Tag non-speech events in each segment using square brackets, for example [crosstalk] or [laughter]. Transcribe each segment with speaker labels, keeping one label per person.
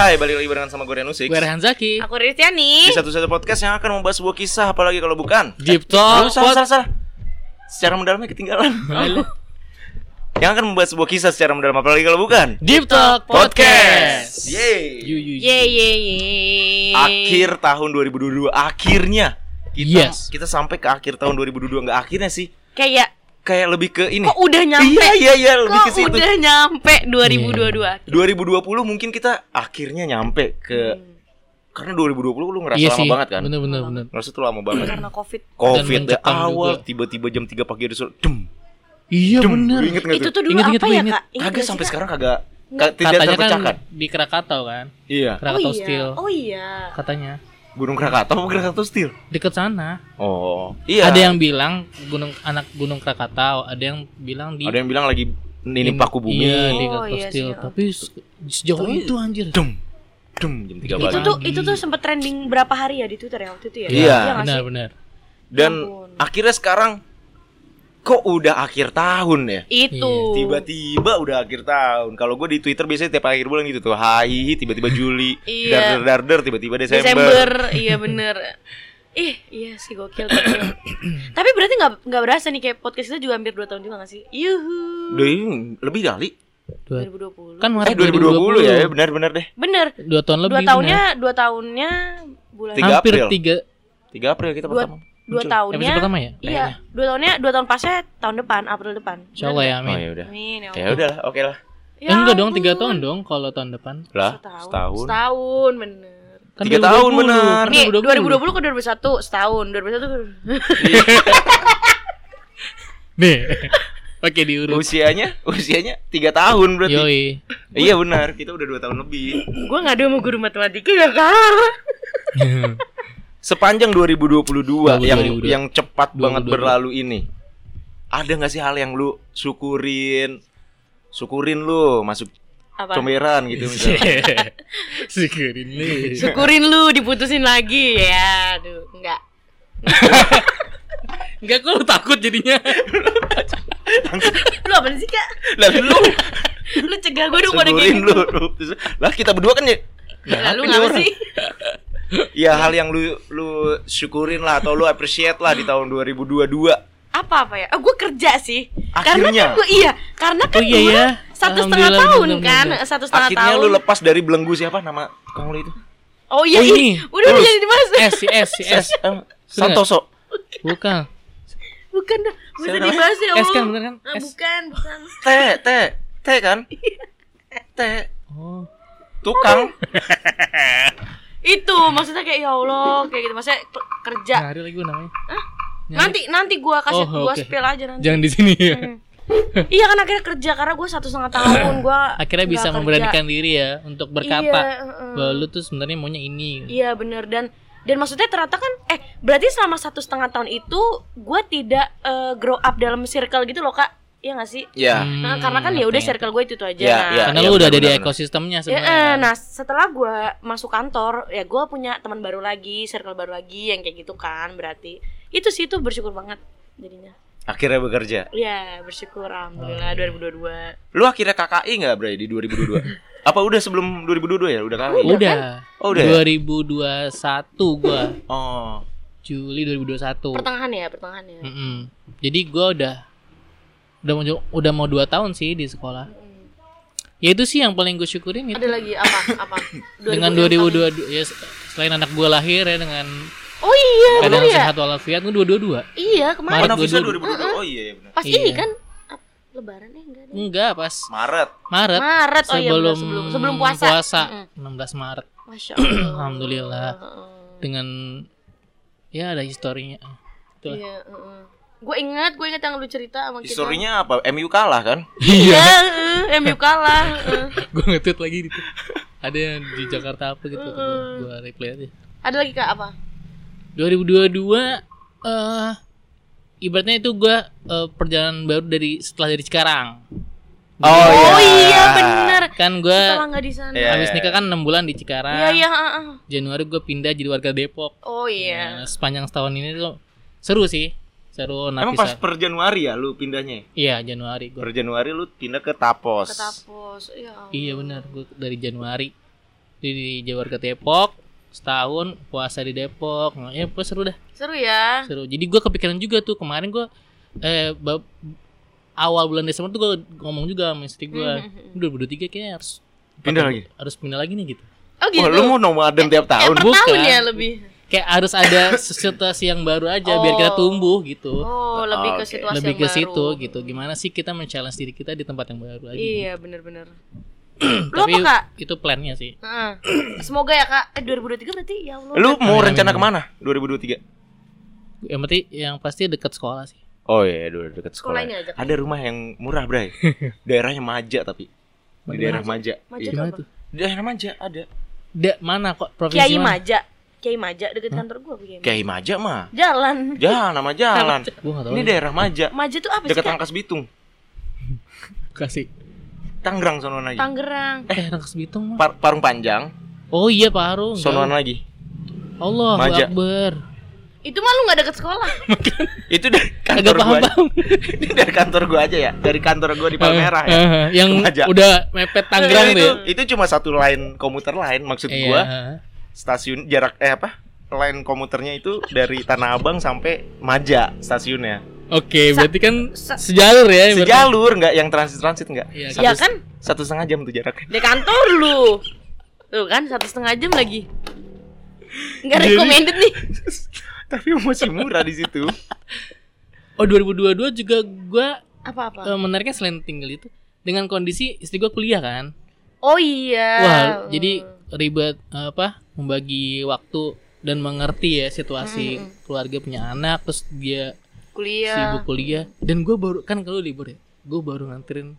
Speaker 1: hai balik lagi barengan sama Gorean Musik
Speaker 2: Gue Rehan Zaki
Speaker 3: Aku Ristiani.
Speaker 1: Di satu-satu podcast yang akan membahas sebuah kisah apalagi kalau bukan
Speaker 2: Deep Talk
Speaker 1: Aduh, salah, salah, salah Secara mendalamnya ketinggalan Yang akan membahas sebuah kisah secara mendalam apalagi kalau bukan
Speaker 2: Deep Talk Podcast
Speaker 1: Yeay
Speaker 2: You, you, you.
Speaker 3: Ye ye ye.
Speaker 1: Akhir tahun 2022 Akhirnya kita,
Speaker 2: Yes.
Speaker 1: kita sampai ke akhir tahun 2022 Nggak akhirnya sih
Speaker 3: Kayak
Speaker 1: Kayak lebih ke ini
Speaker 3: kok udah nyampe.
Speaker 1: Iya, iya, iya Lebih ke
Speaker 3: Kok
Speaker 1: situ
Speaker 3: udah nyampe
Speaker 1: Iya.
Speaker 3: 2022.
Speaker 1: 2020 mungkin kita akhirnya nyampe ke Karena 2020 lu ngerasa
Speaker 2: Iya
Speaker 1: lama
Speaker 2: sih
Speaker 1: banget kan
Speaker 2: Bener bener bener
Speaker 1: Ngerasa tuh lama
Speaker 3: [clears throat]
Speaker 1: banget
Speaker 3: Karena Covid.
Speaker 1: Covid dari
Speaker 2: mencekam
Speaker 1: awal
Speaker 2: juga.
Speaker 1: tiba-tiba jam 3 pagi ada suara dem
Speaker 2: Iya
Speaker 1: dem
Speaker 2: bener
Speaker 1: Lu inget nggak
Speaker 3: Itu
Speaker 1: tuh?
Speaker 3: tuh dulu
Speaker 2: Ingat, ingat,
Speaker 3: apa
Speaker 2: gua
Speaker 3: ya,
Speaker 2: ingat.
Speaker 3: Kak? Ingat
Speaker 1: Kagak sampai
Speaker 3: nggak sih, Kak?
Speaker 1: sekarang kagak
Speaker 3: Nggak.
Speaker 1: ka- tidak
Speaker 2: Katanya
Speaker 1: terpecahkan.
Speaker 2: kan di Krakatau kan
Speaker 1: Iya.
Speaker 2: Krakatau
Speaker 3: oh, iya.
Speaker 2: Steel
Speaker 3: Oh iya.
Speaker 2: Katanya
Speaker 1: Gunung Krakatau apa Krakatau Steel?
Speaker 2: Deket sana
Speaker 1: Oh. Iya.
Speaker 2: Ada yang bilang gunung anak gunung Krakatau Ada yang bilang di
Speaker 1: ada yang bilang lagi ini paku bumi.
Speaker 2: Iya di
Speaker 3: Oh,
Speaker 2: Krakatau
Speaker 3: iya
Speaker 2: Steel
Speaker 3: sih.
Speaker 2: Tapi se- sejauh
Speaker 1: Tapi-
Speaker 2: itu anjir
Speaker 1: Dem. Dem jam 3
Speaker 2: Itu
Speaker 3: Itu
Speaker 1: pagi.
Speaker 3: tuh
Speaker 2: Lagi.
Speaker 3: itu tuh sempat trending berapa hari ya di Twitter ya waktu itu ya?
Speaker 1: Iya.
Speaker 3: nggak
Speaker 2: Bener
Speaker 3: sih?
Speaker 2: bener
Speaker 1: Dan
Speaker 3: ampun.
Speaker 1: akhirnya sekarang kok udah akhir tahun ya?
Speaker 3: Itu.
Speaker 2: Iya.
Speaker 1: Tiba-tiba udah akhir tahun. Kalau gue di Twitter biasanya tiap akhir bulan gitu tuh. Hai, tiba-tiba Juli,
Speaker 3: [laughs]
Speaker 1: dar
Speaker 3: Iya.
Speaker 1: dar dar tiba-tiba
Speaker 3: Desember.
Speaker 1: Desember.
Speaker 3: iya
Speaker 1: [laughs]
Speaker 3: bener. Ih, iya sih gokil.
Speaker 1: [coughs]
Speaker 3: gokil. Tapi berarti nggak nggak berasa nih kayak podcast kita juga hampir 2 tahun juga nggak sih? Yuhu.
Speaker 1: Duh, lebih dari.
Speaker 2: Dua-
Speaker 3: 2020.
Speaker 2: Kan
Speaker 1: Eh
Speaker 2: Maret
Speaker 1: 2020 ya, benar-benar deh.
Speaker 3: Bener.
Speaker 2: Dua tahun
Speaker 3: dua
Speaker 2: lebih
Speaker 3: tahunnya dua tahunnya bulan
Speaker 1: Tiga
Speaker 2: bener. Hampir
Speaker 1: April.
Speaker 2: tiga
Speaker 1: 3 April kita
Speaker 3: Dua-
Speaker 1: pertama.
Speaker 3: dua
Speaker 1: muncul.
Speaker 3: tahunnya
Speaker 2: Episode pertama ya
Speaker 3: iya dua tahunnya dua tahun pasnya tahun depan April depan
Speaker 2: Insya Allah ya
Speaker 1: Oh
Speaker 2: amin
Speaker 1: ya udah.
Speaker 3: Amin, ya
Speaker 1: Ya
Speaker 3: Allah.
Speaker 1: udahlah, oke lah.
Speaker 3: Ya
Speaker 2: Eh, enggak dong, tiga
Speaker 3: ampun.
Speaker 2: tahun dong kalau tahun depan.
Speaker 1: Lah,
Speaker 3: setahun
Speaker 1: setahun.
Speaker 3: setahun bener
Speaker 2: Kan
Speaker 1: Tiga tahun,
Speaker 2: 2020,
Speaker 1: benar.
Speaker 2: kan
Speaker 3: ini 2020 ke 2021 setahun 2021 ke [laughs]
Speaker 2: Nih. [laughs] Pakai diurut.
Speaker 1: Usianya, [laughs] usianya 3 tahun berarti.
Speaker 2: Yoi.
Speaker 1: Iya benar, kita udah 2 tahun lebih.
Speaker 3: gue ngadu sama guru matematika ya kak
Speaker 1: Sepanjang 2022 yang
Speaker 2: 2022.
Speaker 1: yang cepat banget
Speaker 2: 2022.
Speaker 1: berlalu ini. Ada nggak sih hal yang lu syukurin? Syukurin lu masuk
Speaker 3: apa
Speaker 1: comberan gitu misalnya.
Speaker 2: Syukurin nih.
Speaker 3: syukurin lu diputusin lagi ya aduh enggak
Speaker 2: Enggak kok lu takut jadinya.
Speaker 3: lu apa sih kak
Speaker 1: Lah lu
Speaker 3: lu cegah gue dong pada
Speaker 1: syukurin
Speaker 3: kayak
Speaker 1: lu. lu. Terus, Lah kita berdua kan ya.
Speaker 3: Lah, lu
Speaker 1: ini
Speaker 3: ngapa
Speaker 1: orang?
Speaker 3: sih
Speaker 1: Ya hal yang lu lu syukurin lah atau lu appreciate lah di tahun 2022.
Speaker 3: apa apa ya? Oh, gue kerja sih.
Speaker 1: Akhirnya.
Speaker 3: Karena kan gue iya, karena kan
Speaker 2: Oh, iya,
Speaker 3: gua
Speaker 2: ya.
Speaker 3: satu setengah
Speaker 2: Alhamdulillah,
Speaker 3: tahun kan,
Speaker 2: alhamdulillah.
Speaker 3: satu setengah
Speaker 1: Akhirnya
Speaker 3: tahun.
Speaker 1: lu lepas dari belenggu siapa nama tukang lu itu?
Speaker 3: oh iya,
Speaker 2: Oh,
Speaker 3: iya.
Speaker 2: ini. Eh,
Speaker 3: udah udah jadi mas.
Speaker 2: S si S si S.
Speaker 1: SM Eh, Santoso.
Speaker 2: Bukan.
Speaker 3: Bukan, dah. Gak usah
Speaker 1: Siapa
Speaker 3: dibahas ya Allah.
Speaker 2: S kan bener kan?
Speaker 3: Ah,
Speaker 2: S.
Speaker 3: bukan, bukan.
Speaker 1: T, T, T kan? T,
Speaker 2: Oh.
Speaker 1: tukang.
Speaker 3: Itu maksudnya kayak ya Allah, kayak gitu. Maksudnya pe- kerja.
Speaker 2: Nyari lagi gue namanya.
Speaker 3: Nanti nanti gue kasih
Speaker 2: Nah, Oh,
Speaker 3: gue
Speaker 2: oke.
Speaker 3: spill aja nanti.
Speaker 2: Jangan di sini.
Speaker 3: Iya kan akhirnya kerja karena gue satu setengah tahun gue
Speaker 2: [clears throat] Akhirnya bisa memberanikan diri ya untuk berkata
Speaker 3: Iya, heeh.
Speaker 2: bahwa lu tuh sebenarnya maunya ini.
Speaker 3: Iya bener dan dan maksudnya ternyata kan eh berarti selama satu setengah tahun itu gue tidak eh, grow up dalam circle gitu loh kak Iya gak sih?
Speaker 1: Ya.
Speaker 3: Nah, karena kan ya udah circle gue itu itu
Speaker 1: Iya,
Speaker 3: aja. nah,
Speaker 1: iya.
Speaker 2: Hmm. Karena
Speaker 1: Ya,
Speaker 2: lu udah ada di
Speaker 1: benar-benar.
Speaker 2: ekosistemnya
Speaker 3: Ya,
Speaker 2: sebenarnya.
Speaker 3: eh,
Speaker 2: kan?
Speaker 3: nah setelah gue masuk kantor ya gue punya teman baru lagi, circle baru lagi yang kayak gitu kan berarti itu sih itu bersyukur banget jadinya.
Speaker 1: Akhirnya bekerja.
Speaker 3: Ya
Speaker 2: Oh,
Speaker 3: bersyukur
Speaker 2: iya.
Speaker 3: alhamdulillah 2022.
Speaker 1: Lu akhirnya KKI nggak Bray di 2022? Apa udah sebelum 2022 ya? Udah
Speaker 3: iya
Speaker 1: KKI?
Speaker 3: kan?
Speaker 2: Udah.
Speaker 1: Oh, udah ya?
Speaker 2: 2021 gua.
Speaker 1: Oh.
Speaker 2: Juli 2021.
Speaker 3: Pertengahan ya pertengahan ya.
Speaker 2: Mm-mm. Jadi gua udah udah mau udah mau dua tahun sih di sekolah. Ya itu sih yang paling gue syukurin itu.
Speaker 3: Ada lagi apa apa?
Speaker 2: Hmm. [laughs] dengan 2022 ya selain anak gua lahir ya dengan
Speaker 3: Oh iya bener
Speaker 2: keadaan
Speaker 3: ya.
Speaker 2: sehat walafiat gua 22
Speaker 3: Iya kemarin
Speaker 1: Mana
Speaker 2: Maret
Speaker 1: visa
Speaker 2: 2022.
Speaker 1: 2022? Oh iya, iya benar.
Speaker 3: pas
Speaker 2: Iya.
Speaker 3: ini kan ap- lebaran ya enggak deh.
Speaker 2: Enggak pas
Speaker 1: Maret.
Speaker 2: Maret.
Speaker 3: Maret oh iya bener,
Speaker 2: sebelum,
Speaker 3: sebelum sebelum puasa.
Speaker 2: puasa,
Speaker 3: Mm-mm.
Speaker 2: 16 Maret.
Speaker 3: Masya Allah.
Speaker 2: [clears throat] Alhamdulillah.
Speaker 3: Heeh.
Speaker 2: Dengan ya ada historinya. Itulah.
Speaker 3: Iya, heeh. Gue ingat, gue ingat yang lu cerita sama kita.
Speaker 1: Historinya apa? MU kalah kan?
Speaker 3: Iya, heeh, MU kalah. heeh.
Speaker 2: [laughs] gua nge-tweet lagi gitu. Ada yang di Jakarta apa gitu gua- gua replay aja.
Speaker 3: Ada lagi Kak apa?
Speaker 2: 2022 eh ibaratnya itu gua eh, perjalanan baru dari setelah dari Cikarang.
Speaker 1: Oh
Speaker 3: Oh iya, benar.
Speaker 2: Kan gua
Speaker 3: Setelah nggak di sana.
Speaker 1: Iya.
Speaker 2: habis nikah kan 6 bulan di Cikarang.
Speaker 3: Iya, iya, heeh.
Speaker 2: Januari gua pindah jadi warga Depok.
Speaker 3: Oh iya.
Speaker 2: Nah, sepanjang setahun ini tuh seru sih. Seru
Speaker 1: Emang pas
Speaker 2: napisah.
Speaker 1: per Januari ya lu pindahnya?
Speaker 2: Iya, Januari gua.
Speaker 1: Per Januari lu pindah ke Tapos.
Speaker 3: Ketapos. Iya.
Speaker 2: Iya benar, gua dari Januari di, di Jabar ke Depok setahun puasa di Depok Nah, ya puasa seru dah
Speaker 3: Seru ya.
Speaker 2: seru jadi gue kepikiran juga tuh kemarin gue eh bab- awal bulan Desember tuh gue ngomong juga sama istri gue
Speaker 1: Mm-hmm.
Speaker 3: Mhm.
Speaker 2: udah berdua tiga kayaknya harus
Speaker 1: Pindah lagi.
Speaker 2: harus pindah lagi nih gitu
Speaker 3: Oh gitu.
Speaker 1: Wah, lu mau nomaden tiap
Speaker 3: Eh,
Speaker 1: tahun.
Speaker 3: per
Speaker 2: Bukan.
Speaker 3: tahun ya lebih.
Speaker 2: kayak harus ada [laughs] situasi yang baru aja biar kita
Speaker 3: Oh.
Speaker 2: tumbuh gitu
Speaker 3: Oh, lebih ke
Speaker 1: Oke.
Speaker 3: situasi
Speaker 2: lebih
Speaker 3: yang
Speaker 2: ke
Speaker 3: baru.
Speaker 2: situ gitu gimana sih kita men-challenge diri kita di tempat yang baru lagi
Speaker 3: Iya, bener-bener.
Speaker 2: gitu.
Speaker 3: lu apa, Kak?
Speaker 2: itu plannya sih
Speaker 3: Heeh. Semoga ya Kak. Eh 2023 berarti ya Allah.
Speaker 1: Lu mau
Speaker 2: Amin,
Speaker 1: rencana kemana?
Speaker 2: amin.
Speaker 1: 2023.
Speaker 2: yang penting yang pasti dekat sekolah sih
Speaker 1: Oh iya, dulu dekat sekolah.
Speaker 3: Sekolahnya aja. gitu.
Speaker 1: Ada rumah yang murah,
Speaker 2: [laughs]
Speaker 1: Bray. Daerahnya Maja tapi. Di daerah Maja.
Speaker 3: Maja
Speaker 1: Iya.
Speaker 3: tuh
Speaker 2: gimana
Speaker 3: apa?
Speaker 2: tuh
Speaker 1: Di daerah Maja ada.
Speaker 2: da, mana kok provinsi
Speaker 3: Kiai
Speaker 2: mana
Speaker 3: Maja. Kiai Maja deket kantor gua apa Kiai Maja?
Speaker 1: Kayak Maja mah.
Speaker 3: Jalan.
Speaker 1: Jalan nama jalan.
Speaker 2: gue nggak tahu
Speaker 1: Ini daerah Maja.
Speaker 3: Maja tuh apa sih?
Speaker 1: Dekat
Speaker 3: Kak?
Speaker 1: Angkas Bitung.
Speaker 2: kasih
Speaker 1: Tangerang sono lagi.
Speaker 3: Tangerang.
Speaker 2: eh Rangkas Bitung mah
Speaker 1: Par- Parung Panjang,
Speaker 2: oh iya Pak Harung
Speaker 1: sono lagi.
Speaker 2: Allah
Speaker 1: Maja.
Speaker 2: Akbar
Speaker 3: Itu mah lu gak deket sekolah.
Speaker 1: Itu dari
Speaker 2: agak
Speaker 1: kantor gua.
Speaker 2: paham
Speaker 1: aja.
Speaker 2: paham
Speaker 1: [laughs] Ini dari kantor gua aja ya. Dari kantor gua di Palmerah ya.
Speaker 2: Eh, eh, yang
Speaker 1: Maja.
Speaker 2: udah mepet
Speaker 3: Iya,
Speaker 2: Tangerang
Speaker 1: itu,
Speaker 2: tuh ya.
Speaker 1: itu cuma satu line komuter lain maksud
Speaker 2: Iya.
Speaker 1: gua. Stasiun jarak eh apa? Line komuternya itu dari Tanah Abang sampai Maja stasiunnya.
Speaker 2: Oke, berarti kan
Speaker 3: sa-
Speaker 2: sejalur ya. berarti.
Speaker 1: Sejalur nggak yang transit-transit nggak?
Speaker 2: Iya,
Speaker 1: Satu-
Speaker 3: ya Eh, kan?
Speaker 1: Satu setengah jam tuh jaraknya.
Speaker 3: Di kantor lu. Tuh kan satu setengah jam lagi. Gak
Speaker 1: Jadi-
Speaker 3: recommended nih.
Speaker 1: [laughs] Tapi masih murah di situ.
Speaker 2: Oh 2022 juga gua
Speaker 3: Apa-apa?
Speaker 2: eh, menariknya selain tinggal itu dengan kondisi istri gua kuliah kan.
Speaker 3: Oh iya.
Speaker 2: Wah, jadi ribet eh, apa membagi waktu dan mengerti ya situasi keluarga punya anak terus dia
Speaker 3: kuliah.
Speaker 2: sibuk kuliah dan gua baru kan kalau libur ya gue baru nganterin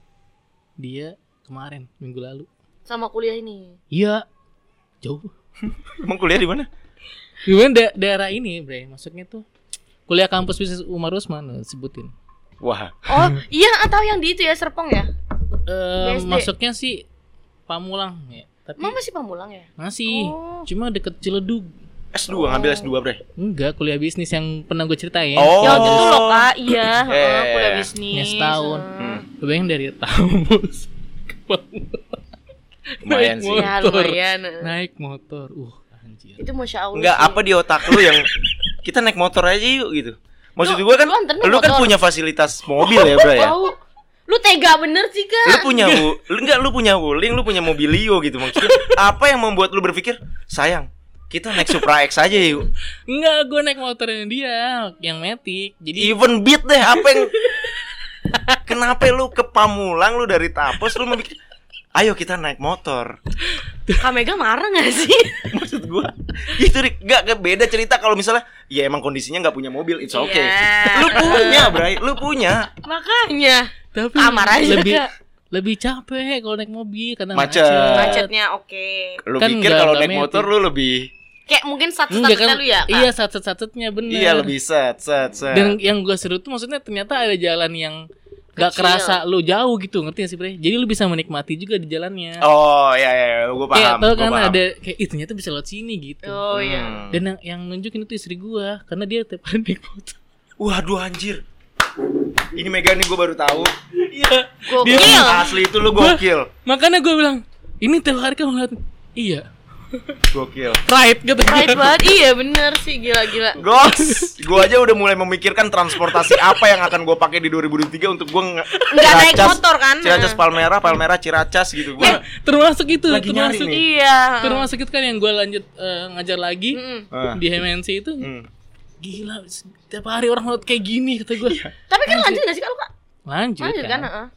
Speaker 2: dia kemarin minggu lalu
Speaker 3: Sama kuliah ini.
Speaker 2: iya jauh
Speaker 1: Emang kuliah di mana?
Speaker 2: Gimana da- daerah ini, Bre? Maksudnya tuh kuliah kampus bisnis Umar Usman eh, sebutin.
Speaker 1: Wah,
Speaker 2: [laughs]
Speaker 3: Oh, iya atau yang di itu ya Serpong ya?
Speaker 2: Eh
Speaker 3: BSD.
Speaker 2: masuknya sih Pamulang ya, tapi
Speaker 3: Emang masih Pamulang ya?
Speaker 2: masih
Speaker 3: Oh.
Speaker 2: cuma deket Ciledug.
Speaker 1: S2 ngambil S2, Bre.
Speaker 2: Enggak, kuliah bisnis yang pernah gue ceritain.
Speaker 1: Oh.
Speaker 3: Ya gitu loh Kak, iya, heeh,
Speaker 1: Eh.
Speaker 3: kuliah bisnis. Hmm.
Speaker 2: Ya, setahun.
Speaker 3: heeh.
Speaker 1: Hmm.
Speaker 2: Lu bayangin dari Tambus ke Pamulang.
Speaker 1: Lumayan
Speaker 2: Naik
Speaker 1: sih.
Speaker 3: Ya
Speaker 2: motor.
Speaker 3: lumayan. heeh.
Speaker 2: Naik motor. Uh, anjir.
Speaker 3: Itu masya Allah.
Speaker 1: Enggak
Speaker 3: sih.
Speaker 1: apa di otak lu yang kita naik motor aja yuk gitu. Maksud
Speaker 3: Lu-
Speaker 1: gua kan
Speaker 3: lu anterin
Speaker 1: lu kan
Speaker 3: motor.
Speaker 1: punya fasilitas mobil ya, Bro ya.
Speaker 3: Tahu. Lu tega bener sih
Speaker 1: Lu
Speaker 3: Kak.
Speaker 1: punya wu- lu enggak lu punya Wuling, lu punya Mobilio gitu maksudnya. Apa yang membuat lu berpikir, "Sayang, kita naik Supra X aja yuk."
Speaker 2: Enggak, gue naik motornya dia yang metik. Jadi
Speaker 1: Even beat deh apa yang [laughs] Kenapa lu ke Pamulang lu dari Tapos lu memikir, "Ayo kita naik motor."
Speaker 3: Kak Mega marah gak sih?
Speaker 1: Maksud gua itu Rik, enggak enggak beda cerita kalau misalnya ya emang kondisinya nggak punya mobil, it's okay.
Speaker 3: Iya.
Speaker 1: Lu punya, Bray. Lu punya.
Speaker 3: Makanya
Speaker 2: tapi
Speaker 3: Amar aja,
Speaker 2: lebih
Speaker 3: Kak.
Speaker 2: lebih capek kalau naik mobil karena
Speaker 1: Macet.
Speaker 3: macetnya oke.
Speaker 1: Lu
Speaker 2: Kan
Speaker 1: pikir
Speaker 2: nggak-
Speaker 1: kalau
Speaker 2: nggak
Speaker 1: naik motor
Speaker 2: metik.
Speaker 1: lu lebih
Speaker 3: Kayak mungkin
Speaker 2: Enggak
Speaker 3: satu-satunya
Speaker 2: kan?
Speaker 3: lu ya Kak.
Speaker 2: Iya, satu-satunya bener.
Speaker 1: Iya lebih set set set.
Speaker 2: Dan yang gua seru tuh maksudnya ternyata ada jalan yang gak
Speaker 3: Kecil.
Speaker 2: kerasa lu jauh gitu, ngerti gak sih, Bre? Jadi lu bisa menikmati juga di jalannya.
Speaker 1: oh ya ya, gue paham.
Speaker 2: Kayak tau
Speaker 1: gua
Speaker 2: kan
Speaker 1: paham.
Speaker 2: ada kayak itu ternyata bisa lewat sini gitu.
Speaker 3: Oh iya.
Speaker 1: Hmm.
Speaker 2: Dan yang yang nunjukin itu istri gua karena dia tiap hari naik motor.
Speaker 1: Waduh anjir. Ini Mega nih gue baru tahu.
Speaker 2: Iya.
Speaker 3: Gokil.
Speaker 1: Asli itu lu gokil.
Speaker 2: [laughs] Makanya gua bilang, ini tiap hari kamu ngeliat Iya.
Speaker 1: Gokil.
Speaker 2: Right gitu.
Speaker 3: Pride banget. Iya bener sih gila-gila.
Speaker 1: Gos, gue aja udah mulai memikirkan transportasi apa yang akan gue pakai di 2023 untuk gue nggak
Speaker 3: Nggak naik motor kan? Ya.
Speaker 1: Ciracas Palmera, Palmera Ciracas gitu. Gue
Speaker 2: [laughs] Termasuk itu,
Speaker 1: Lagi nyari
Speaker 2: termasuk
Speaker 1: nih.
Speaker 3: Iya.
Speaker 2: termasuk itu kan yang gua lanjut eh, ngajar lagi
Speaker 3: Mm-mm.
Speaker 1: Ah.
Speaker 2: di MNC itu.
Speaker 1: Hmm.
Speaker 2: Gila, tiap hari orang lewat kayak gini kata gua.
Speaker 1: Iya.
Speaker 3: Tapi kan lanjut gak sih kalau Kak?
Speaker 2: Lanjut,
Speaker 3: Lanjut
Speaker 2: kan?
Speaker 3: kan? heeh.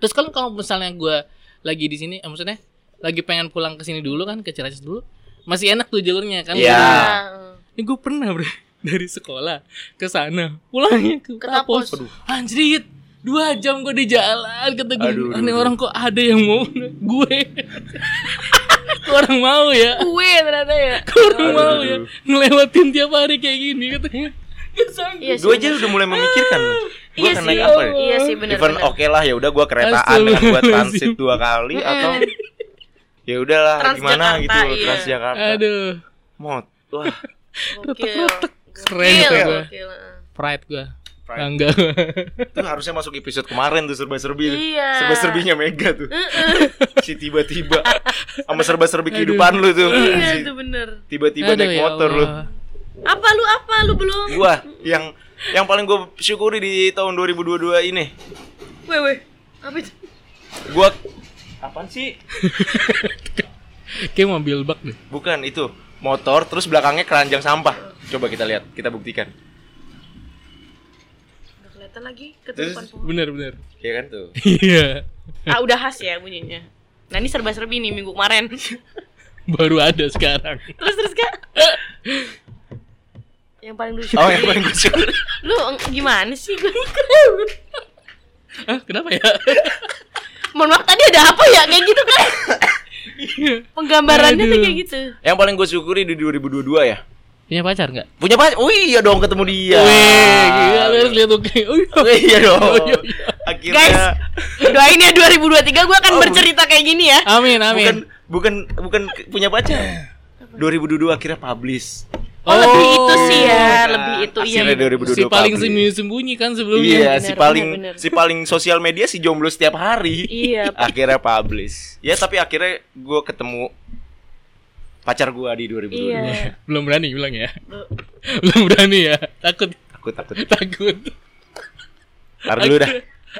Speaker 2: Terus kalau kalau misalnya gue lagi di sini, eh, maksudnya lagi pengen pulang ke sini dulu kan ke Ciracas dulu, masih enak tuh jalurnya kan?
Speaker 1: Iya.
Speaker 3: Nah,
Speaker 2: Ini gue pernah bro [laughs] dari sekolah ke sana, pulangnya ke
Speaker 3: Ke
Speaker 2: Tapos.
Speaker 3: Tapos.
Speaker 2: Anjrit, dua jam gue di jalan kata gue,
Speaker 1: Aduh,
Speaker 2: aneh
Speaker 1: aduh,
Speaker 2: orang kok ada yang mau [laughs] gue. Kok orang mau ya?
Speaker 3: Gue ternyata ya.
Speaker 2: Kok orang
Speaker 1: Aduh,
Speaker 2: mau
Speaker 1: aduh,
Speaker 2: ya?
Speaker 1: aduh.
Speaker 2: Ngelewatin tiap hari kayak gini katanya.
Speaker 3: Iya sih.
Speaker 1: Gue aja udah mulai memikirkan. Gue
Speaker 3: Iya
Speaker 1: akan
Speaker 3: sih.
Speaker 1: naik apa? Ya?
Speaker 3: Iya sih bener.
Speaker 1: Even
Speaker 3: bener.
Speaker 1: oke lah ya udah gue keretaan dengan gue transit
Speaker 2: Astagfirullahaladzim.
Speaker 1: dua kali atau ya udahlah gimana
Speaker 3: Transjakarta,
Speaker 1: gitu
Speaker 3: iya.
Speaker 1: Transjakarta.
Speaker 2: Aduh,
Speaker 1: Mot. Wah,
Speaker 3: Gokil.
Speaker 2: Keren
Speaker 3: Gokil.
Speaker 2: kata gue.
Speaker 1: ya.
Speaker 3: gokil, heeh.
Speaker 2: pride gue.
Speaker 1: Pride.
Speaker 2: Enggak.
Speaker 1: [laughs] Itu harusnya masuk episode kemarin tuh serba-serbi. tuh.
Speaker 3: Iya.
Speaker 1: Serba-serbinya mega tuh. si tiba-tiba sama serba-serbi kehidupan lu tuh.
Speaker 3: Iya
Speaker 1: Si
Speaker 3: itu bener
Speaker 1: tiba-tiba
Speaker 2: Aduh,
Speaker 1: naik
Speaker 2: ya
Speaker 1: motor lu.
Speaker 2: Allah.
Speaker 3: Apa lu apa lu belum
Speaker 1: Gua yang yang paling gue syukuri di tahun 2022 ini.
Speaker 3: Weh weh Apa itu
Speaker 1: Gua apaan sih?
Speaker 2: Kayak mobil bak deh.
Speaker 1: Bukan itu motor terus belakangnya keranjang sampah. Coba kita lihat, kita buktikan.
Speaker 3: Gak kelihatan lagi
Speaker 1: Terus-
Speaker 3: ketutupan pohon
Speaker 2: Bener bener. [laughs]
Speaker 1: Iya kan tuh.
Speaker 2: Iya.
Speaker 3: Ah udah khas ya bunyinya Nah ini serba-serbi nih minggu kemarin [laughs]
Speaker 2: Baru ada
Speaker 1: [laughs]
Speaker 2: sekarang.
Speaker 3: Terus terus kak Yang paling lucu
Speaker 1: Oh, yang paling gue syukuri.
Speaker 3: Lu eng- gimana
Speaker 1: [laughs]
Speaker 3: sih gue
Speaker 2: Hah, kenapa ya? [laughs]
Speaker 3: Mohon maaf tadi ada apa ya kayak gitu kan Penggambarannya tuh
Speaker 2: Aduh.
Speaker 3: kayak gitu
Speaker 1: Yang paling gue syukuri di 2022 ya.
Speaker 2: Punya pacar nggak?
Speaker 1: Punya pacar? Oh iya dong ketemu dia.
Speaker 2: Wih, gila lu harus [laughs] lihat oke. Oh iya.
Speaker 1: Oh iya dong.
Speaker 2: Oh iya, iya.
Speaker 1: Akhirnya
Speaker 3: Guys Doain ya 2023 gue akan
Speaker 1: Oh,
Speaker 3: bercerita kayak gini ya
Speaker 2: Amin amin.
Speaker 1: bukan bukan bukan ke- punya pacar. 2022 akhirnya publish.
Speaker 3: Oh, lebih itu sih ya Lebih itu iya
Speaker 1: Akhirnya 2022
Speaker 2: Si paling
Speaker 1: publish.
Speaker 2: sembunyi sembunyi kan sebelumnya.
Speaker 1: Iya,
Speaker 3: Benar,
Speaker 1: si
Speaker 3: benar,
Speaker 1: paling
Speaker 3: benar.
Speaker 1: si paling sosial media si jomblo setiap hari. [laughs]
Speaker 3: Iya.
Speaker 1: akhirnya publish. Ya, tapi akhirnya gue ketemu pacar gue di 2022.
Speaker 3: Iya
Speaker 2: Belum berani bilang ya. Belum berani ya. Takut
Speaker 1: Takut takut.
Speaker 2: takut.
Speaker 1: Tar dulu dah.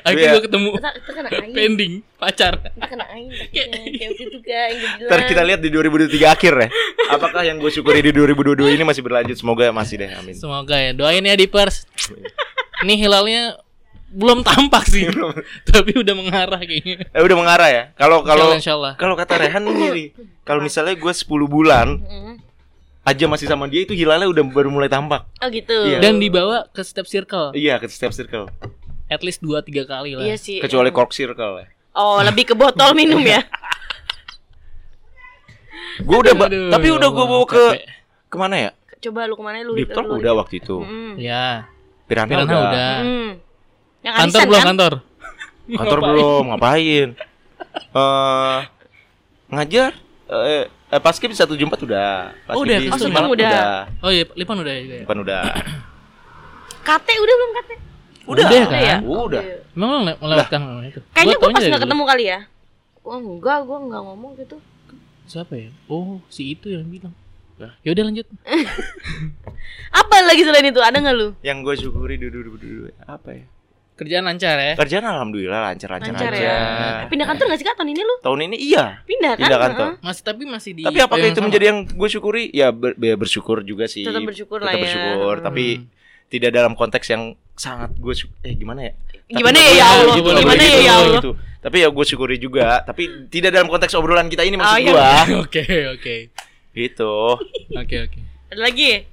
Speaker 2: Akhirnya
Speaker 1: Iya.
Speaker 2: gua ketemu [laughs]
Speaker 3: Kita kita kena air
Speaker 2: pending pacar.
Speaker 3: Kita kena
Speaker 2: [laughs]
Speaker 3: air takutnya. Kayak waktu itu kan yang gue
Speaker 1: Ntar
Speaker 3: bilang.
Speaker 1: kita lihat di 2023 akhir ya. Apakah yang gue syukuri di 2022 ini masih berlanjut? Semoga masih deh. Amin.
Speaker 2: Semoga ya. Doain ya di pers. Nih hilalnya belum tampak sih. tapi udah mengarah kayaknya.
Speaker 1: Eh udah mengarah ya. Kalau kalau
Speaker 2: Insyaallah, insyaallah.
Speaker 1: kalau kata Rehan sendiri, kalau misalnya gue 10 bulan
Speaker 3: Mm.
Speaker 1: aja masih sama dia itu hilalnya udah baru mulai tampak.
Speaker 3: Oh gitu
Speaker 1: Iya.
Speaker 2: Dan dibawa ke step
Speaker 3: Oh.
Speaker 2: circle.
Speaker 1: Iya, ke step circle.
Speaker 2: At least 2 3 kali lah.
Speaker 3: Iya sih
Speaker 1: Kecuali cork circle ya.
Speaker 3: Oh lebih ke botol minum ya
Speaker 1: [laughs] Gue udah ba-
Speaker 2: Aduh,
Speaker 1: tapi
Speaker 2: ya
Speaker 1: udah gue
Speaker 2: Allah,
Speaker 1: bawa ke
Speaker 2: capek.
Speaker 1: kemana ya?
Speaker 3: Coba lu kemana lu
Speaker 1: Deep Talk
Speaker 3: lu-
Speaker 1: udah waktu itu.
Speaker 3: Mm.
Speaker 2: Ya.
Speaker 1: Piranha,
Speaker 2: Piranha
Speaker 1: Iya, udah.
Speaker 2: udah.
Speaker 3: Mm. Yang
Speaker 2: Kantor
Speaker 3: arisan
Speaker 2: belum
Speaker 3: kan?
Speaker 2: kantor.
Speaker 1: Kantor belum, ngapain? Eh ngajar eh eh, paskib 174 udah. Paskib
Speaker 2: Udah,
Speaker 1: di
Speaker 2: Paskib
Speaker 1: Semarang
Speaker 3: udah.
Speaker 2: Oh iya, Lipan udah juga ya.
Speaker 1: Depan udah. [clears throat]
Speaker 3: Kate udah belum kate?
Speaker 1: Udah.
Speaker 2: Udah
Speaker 3: Udah ya?
Speaker 2: kan?
Speaker 1: Udah.
Speaker 3: Oke.
Speaker 2: Emang lo ngele- melewatkan momen itu?
Speaker 3: Kayaknya gue
Speaker 2: taunya
Speaker 3: pas
Speaker 2: dari
Speaker 3: gak
Speaker 2: lu.
Speaker 3: ketemu kali ya Oh enggak, gue enggak ngomong gitu
Speaker 2: Siapa ya? Oh, si itu yang bilang. Ya udah lanjut.
Speaker 3: Apa lagi selain itu? Ada gak lu?
Speaker 1: Yang gue syukuri dulu dulu dulu apa ya?
Speaker 2: Kerjaan lancar ya.
Speaker 1: Kerjaan alhamdulillah lancar-lancar
Speaker 3: Lancar
Speaker 1: aja.
Speaker 3: ya Pindah kantor gak sih kak tahun ini lu?
Speaker 1: Tahun ini iya,
Speaker 3: Pindah kan?
Speaker 1: pindah kantor.
Speaker 3: Heeh.
Speaker 2: Masih tapi masih di Oh,
Speaker 1: Tapi apakah itu menjadi yang gue syukuri? Ya ber- ya bersyukur juga sih.
Speaker 3: Tetap bersyukur
Speaker 1: Tetap
Speaker 3: lah ya.
Speaker 1: bersyukur,
Speaker 3: Hmm.
Speaker 1: tapi tidak dalam konteks yang sangat gue syuk- eh gimana ya? Tapi
Speaker 3: Gimana
Speaker 1: nggak
Speaker 3: ya
Speaker 1: boleh
Speaker 3: ya
Speaker 1: gitu,
Speaker 3: Allah?
Speaker 1: nggak boleh
Speaker 3: Gimana
Speaker 1: gitu,
Speaker 3: ya ya
Speaker 1: nggak boleh
Speaker 3: Allah?
Speaker 1: gitu. Tapi ya gue syukuri juga, tapi tidak dalam konteks obrolan kita ini maksud
Speaker 3: Oh, iya.
Speaker 1: gue.
Speaker 2: [laughs] Oke, oke.
Speaker 1: Gitu.
Speaker 2: Oke, oke.
Speaker 3: Ada lagi?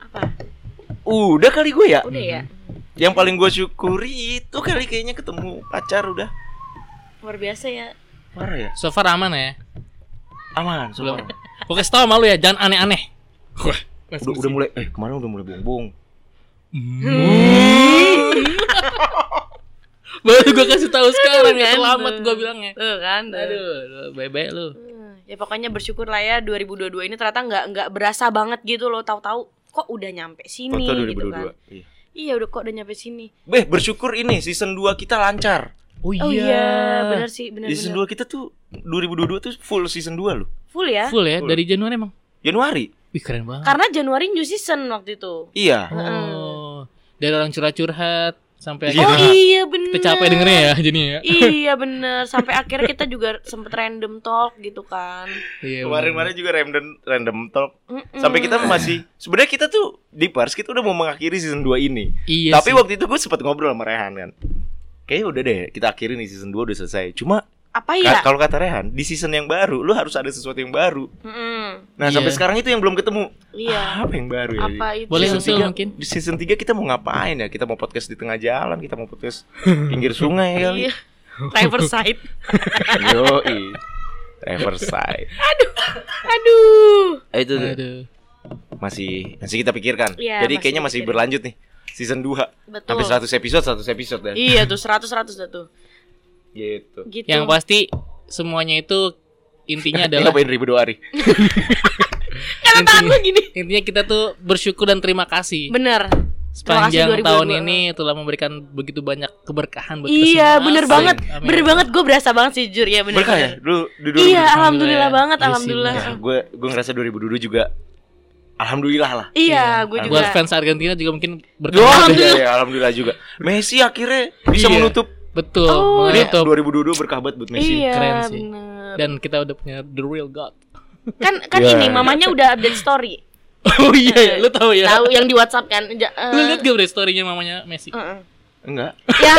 Speaker 3: Apa?
Speaker 1: Udah kali gue ya.
Speaker 3: Udah ya?
Speaker 1: Yang paling gue syukuri itu kali kayaknya ketemu pacar udah.
Speaker 3: Luar biasa ya
Speaker 1: Parah ya?
Speaker 2: So far aman ya.
Speaker 1: Aman, semua.
Speaker 2: Belum. Gue kasih tau malu ya, jangan aneh-aneh. Wah,
Speaker 1: Udah, udah mulai eh kemarin udah mulai bongbong.
Speaker 2: Baru gue kasih tahu sekarang ya,
Speaker 3: Kan?
Speaker 2: selamat gue bilangnya.
Speaker 3: Tuh kan tuh.
Speaker 2: Aduh, bye-bye lu.
Speaker 3: Hmm, Ya pokoknya bersyukur lah ya 2022 ini ternyata nggak nggak berasa banget gitu loh tahu-tahu kok udah nyampe sini
Speaker 1: Foto
Speaker 3: gitu kan
Speaker 1: 2022. Iya.
Speaker 3: iya udah kok udah nyampe sini
Speaker 1: Beh, bersyukur ini season 2 kita lancar.
Speaker 2: Oh
Speaker 3: oh iya benar sih
Speaker 1: Di season
Speaker 3: benar-benar
Speaker 1: 2 kita tuh 2022 tuh full season 2 loh.
Speaker 3: full ya
Speaker 2: Full ya,
Speaker 1: Full.
Speaker 2: dari Januari emang.
Speaker 1: Januari.
Speaker 2: Wih, keren banget.
Speaker 3: karena Januari new season waktu itu
Speaker 1: Iya.
Speaker 2: Oh. Dari orang curhat-curhat sampai
Speaker 1: Iya.
Speaker 3: oh
Speaker 2: akhirnya
Speaker 3: iya benar
Speaker 2: kita capek dengernya ya jadinya ya.
Speaker 3: iya bener sampai akhirnya kita juga sempet random talk gitu kan
Speaker 2: Iya.
Speaker 1: Kemarin-kemarin juga random random talk
Speaker 3: Mm-mm.
Speaker 1: sampai kita masih sebenarnya kita tuh di pers kita udah mau mengakhiri season 2 ini.
Speaker 2: Iya
Speaker 1: Tapi
Speaker 2: sih.
Speaker 1: waktu itu gue sempat ngobrol sama Rehan kan. Kayaknya udah deh, kita akhirin nih season 2 udah selesai. Cuma
Speaker 3: apa
Speaker 1: ka-
Speaker 3: ya
Speaker 1: kalau kata Rehan, di season yang baru lu harus ada sesuatu yang baru.
Speaker 3: Mm-mm.
Speaker 1: Nah, sampai
Speaker 2: Iya.
Speaker 1: sekarang itu yang belum ketemu.
Speaker 3: iya
Speaker 1: Apa yang
Speaker 2: Ah.
Speaker 1: baru ya?
Speaker 3: apa itu
Speaker 2: Boleh
Speaker 1: Season
Speaker 2: usul
Speaker 1: tiga-
Speaker 2: mungkin?
Speaker 1: Di season 3 kita mau ngapain ya? Kita mau podcast di tengah jalan, kita mau podcast pinggir sungai
Speaker 3: [laughs]
Speaker 1: kali.
Speaker 3: iya
Speaker 2: [laughs]
Speaker 3: Riverside
Speaker 1: Yoi Riverside
Speaker 3: aduh
Speaker 1: Eh, Itu tuh,
Speaker 2: Aduh.
Speaker 1: masih masih kita pikirkan
Speaker 3: Iya,
Speaker 1: Jadi
Speaker 3: masih
Speaker 1: kayaknya masih
Speaker 3: dipikirin.
Speaker 1: berlanjut nih Season 2
Speaker 3: betul
Speaker 1: Sampai 100 episode 100 episode
Speaker 2: ya.
Speaker 1: dan
Speaker 3: iya tuh 100 100 dah tuh
Speaker 1: Gitu
Speaker 3: gitu
Speaker 2: Yang pasti semuanya itu intinya
Speaker 1: [laughs]
Speaker 2: adalah
Speaker 1: Ngapain ribu dua hari
Speaker 3: Karena tangan lu gini
Speaker 2: intinya kita tuh bersyukur dan terima kasih
Speaker 3: Bener
Speaker 2: Sepanjang
Speaker 3: 2022.
Speaker 2: tahun ini telah memberikan begitu banyak keberkahan buat kita
Speaker 3: Iya,
Speaker 2: semua.
Speaker 3: bener
Speaker 2: Asik.
Speaker 3: banget.
Speaker 2: Amin.
Speaker 3: Bener iya, banget gue berasa banget sih jujur ya bener.
Speaker 1: Berkah ya?
Speaker 3: bener.
Speaker 1: Dulu di
Speaker 3: Iya,
Speaker 1: 2000.
Speaker 3: alhamdulillah
Speaker 2: ya.
Speaker 3: banget,
Speaker 2: Iya sih,
Speaker 3: alhamdulillah.
Speaker 1: Ya, gue gue ngerasa 2022 juga alhamdulillah lah.
Speaker 3: Iya, gue juga.
Speaker 2: Buat fans Argentina juga mungkin
Speaker 1: Doa
Speaker 2: berkah.
Speaker 1: ya, ya, alhamdulillah juga. Messi akhirnya bisa
Speaker 2: Iya.
Speaker 1: menutup.
Speaker 2: Betul,
Speaker 3: Oh,
Speaker 1: Ini
Speaker 2: menutup.
Speaker 1: 2022 berkah banget buat Messi.
Speaker 3: Iya,
Speaker 2: Keren sih.
Speaker 3: bener.
Speaker 2: Dan kita udah punya the real god. [laughs]
Speaker 3: Kan kan
Speaker 1: Iya.
Speaker 3: ini mamanya udah update story.
Speaker 2: oh iya, ya, lu tahu ya.
Speaker 3: Eh, Tahu yang di WhatsApp kan? Ja- eh,
Speaker 2: Lu lihat gak bre story-nya mamanya Messi?
Speaker 3: eh, eh.
Speaker 1: Enggak.
Speaker 3: Ya.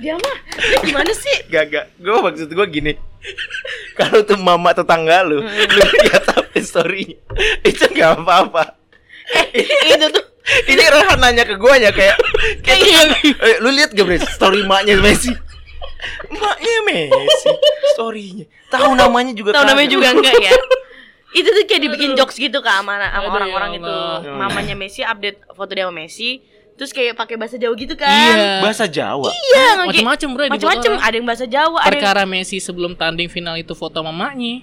Speaker 3: Dia mah dia gimana sih?
Speaker 1: Gak, gak. Gue maksud gue gini. [laughs] Kalau tuh mama tetangga
Speaker 3: Hmm.
Speaker 1: lu, lu lihat apa story Itu gak apa-apa.
Speaker 3: Itu tuh
Speaker 1: Ini Rehan nanya ke gue ya kayak, kayak
Speaker 2: Iya.
Speaker 1: Eh, lu lihat gak bre story maknya Messi? Maknya Messi, storynya. Tahu namanya juga.
Speaker 3: tahu namanya
Speaker 1: kagak.
Speaker 3: juga enggak ya? Itu tuh kayak dibikin jokes gitu ke sama sama
Speaker 2: Aduh, ya
Speaker 3: orang-orang itu.
Speaker 2: Allah.
Speaker 3: Mamanya Messi update foto dia sama Messi, terus kayak pakai bahasa Jawa gitu
Speaker 2: [laughs] Iya.
Speaker 3: kan.
Speaker 1: Bahasa Jawa.
Speaker 3: Iya, kayak-
Speaker 2: Macam-macam bro kan. dibuat
Speaker 3: macam-macam,
Speaker 2: orang.
Speaker 3: ada yang bahasa Jawa, ada yang
Speaker 2: Perkara Messi sebelum tanding final itu foto mamanya.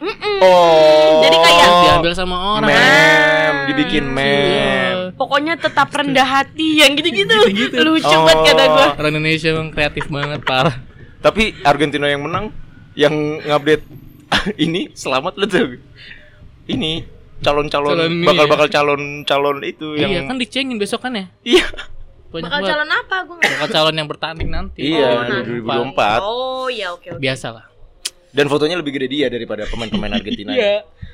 Speaker 1: Oh.
Speaker 3: Jadi kayak- Iya.
Speaker 2: Diambil sama orang.
Speaker 1: mem, dibikin
Speaker 2: Gila.
Speaker 1: mem.
Speaker 3: pokoknya tetap rendah hati yang gitu-gitu. Lucu
Speaker 1: Oh.
Speaker 3: banget kata gua.
Speaker 2: Orang Indonesia emang kreatif banget parah.
Speaker 1: Tapi Argentina yang menang, yang ngupdate [laughs] ini selamat lu tuh. Ini
Speaker 2: Calon
Speaker 1: calon-calon
Speaker 2: ini
Speaker 1: bakal-bakal calon-calon itu yang
Speaker 2: Iya kan dicengin besok kan ya.
Speaker 1: [laughs] Iya.
Speaker 2: Banyak
Speaker 3: Bakal
Speaker 2: banget.
Speaker 3: calon apa gua? nggak-
Speaker 2: Bakal calon yang bertanding nanti.
Speaker 1: Iya,
Speaker 2: Oh, nanti.
Speaker 1: 2024.
Speaker 3: Oh, ya oke oke.
Speaker 2: Biasa lah.
Speaker 1: Dan fotonya lebih gede dia daripada
Speaker 3: [laughs]
Speaker 1: pemain-pemain
Speaker 3: Iya.
Speaker 1: Argentina.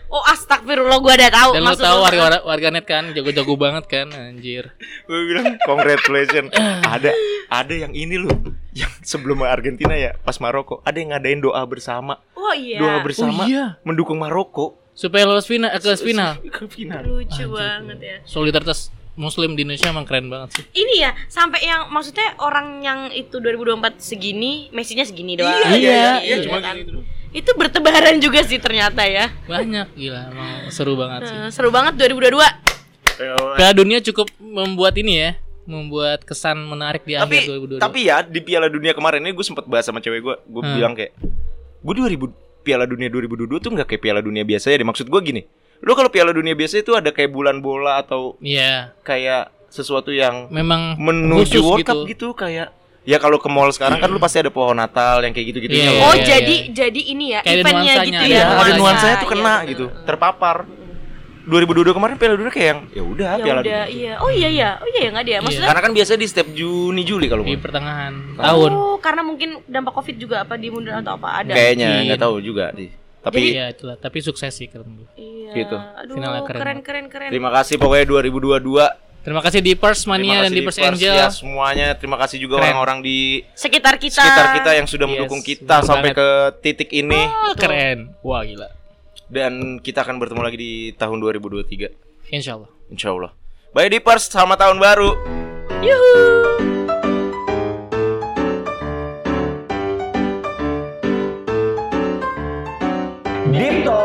Speaker 3: Oh, astagfirullah gua ada tahu
Speaker 2: Dan lo
Speaker 3: maksud
Speaker 2: tahu
Speaker 3: lu.
Speaker 2: warga warganet kan jago-jago banget kan anjir.
Speaker 1: Gue bilang congratulations. ada ada yang ini loh. Yang sebelum Argentina ya, pas Maroko, ada yang ngadain doa bersama.
Speaker 3: Oh iya.
Speaker 1: Doa bersama
Speaker 2: Oh, iya.
Speaker 1: mendukung Maroko
Speaker 2: Supaya lolos final eh, ke final.
Speaker 1: ke final.
Speaker 3: Lucu banget ya.
Speaker 2: Solidaritas muslim di Indonesia emang keren banget sih.
Speaker 3: Ini ya sampai yang maksudnya orang yang itu 2024 segini, Messinya segini doang.
Speaker 2: Iya, iya, iya,
Speaker 3: cuma gitu. Itu bertebaran juga sih ternyata
Speaker 1: Iya,
Speaker 3: ya.
Speaker 2: Banyak gila emang seru banget sih.
Speaker 3: Eh, seru banget 2022.
Speaker 2: Piala Dunia cukup membuat ini ya, membuat kesan menarik di
Speaker 1: tapi
Speaker 2: akhir 2022.
Speaker 1: tapi ya di Piala Dunia kemarin ini gue sempet bahas sama cewek gue gue
Speaker 2: Hmm.
Speaker 1: bilang kayak gue 2000 Piala Dunia 2022 tuh nggak kayak Piala Dunia biasa ya maksud gue gini lo kalau Piala Dunia biasa itu ada kayak bulan bola atau
Speaker 2: Iya,
Speaker 1: kayak sesuatu yang
Speaker 2: memang
Speaker 1: menuju
Speaker 2: khusus
Speaker 1: World
Speaker 2: gitu.
Speaker 1: Cup gitu kayak ya kalau ke mall sekarang kan lu pasti ada pohon Natal yang kayak gitu gitu
Speaker 2: Iya,
Speaker 3: oh,
Speaker 2: iya,
Speaker 3: jadi
Speaker 2: iya.
Speaker 3: jadi ini ya,
Speaker 2: Kayak ada
Speaker 3: eventnya
Speaker 2: nuansanya,
Speaker 3: gitu
Speaker 2: ada
Speaker 3: ya.
Speaker 2: nuansanya.
Speaker 1: Iya, ada
Speaker 2: nuansa,
Speaker 1: nuansanya tuh kena
Speaker 3: iya,
Speaker 1: gitu
Speaker 3: bener.
Speaker 1: terpapar 2022 kemarin Piala Dunia kayak yang ya udah
Speaker 3: Ya
Speaker 1: Piala
Speaker 3: udah,
Speaker 1: Dunia
Speaker 3: iya. Oh iya ya. Oh iya ya enggak dia. Maksudnya
Speaker 1: karena kan biasanya di setiap Juni Juli kalau
Speaker 2: di
Speaker 1: nggak.
Speaker 2: pertengahan tahun.
Speaker 3: Oh, karena mungkin dampak Covid juga apa dimundur atau apa ada.
Speaker 1: kayaknya
Speaker 2: Mungkin.
Speaker 1: nggak tahu juga sih tapi
Speaker 2: Iya, itulah. Tapi sukses sih keren Bu.
Speaker 3: Iya.
Speaker 1: Gitu.
Speaker 3: Aduh,
Speaker 2: Finalnya keren.
Speaker 3: keren keren keren.
Speaker 1: Terima kasih pokoknya 2022.
Speaker 2: Terima kasih di Pers
Speaker 1: Terima
Speaker 2: Mania dan
Speaker 1: kasih
Speaker 2: di
Speaker 1: Pers
Speaker 2: Pers Angel.
Speaker 1: ya semuanya. Terima kasih juga
Speaker 2: Keren.
Speaker 1: orang-orang di
Speaker 3: Sekitar kita.
Speaker 1: sekitar kita yang sudah
Speaker 2: Yes,
Speaker 1: mendukung kita
Speaker 2: bener
Speaker 1: sampai ke titik ini
Speaker 2: Ah, keren. Wah, gila.
Speaker 1: dan kita akan bertemu lagi di tahun 2023
Speaker 2: Insyaallah.
Speaker 1: Insya Allah. Bye di Pers, selamat tahun baru.
Speaker 3: Yuhuu.
Speaker 4: Deep Talk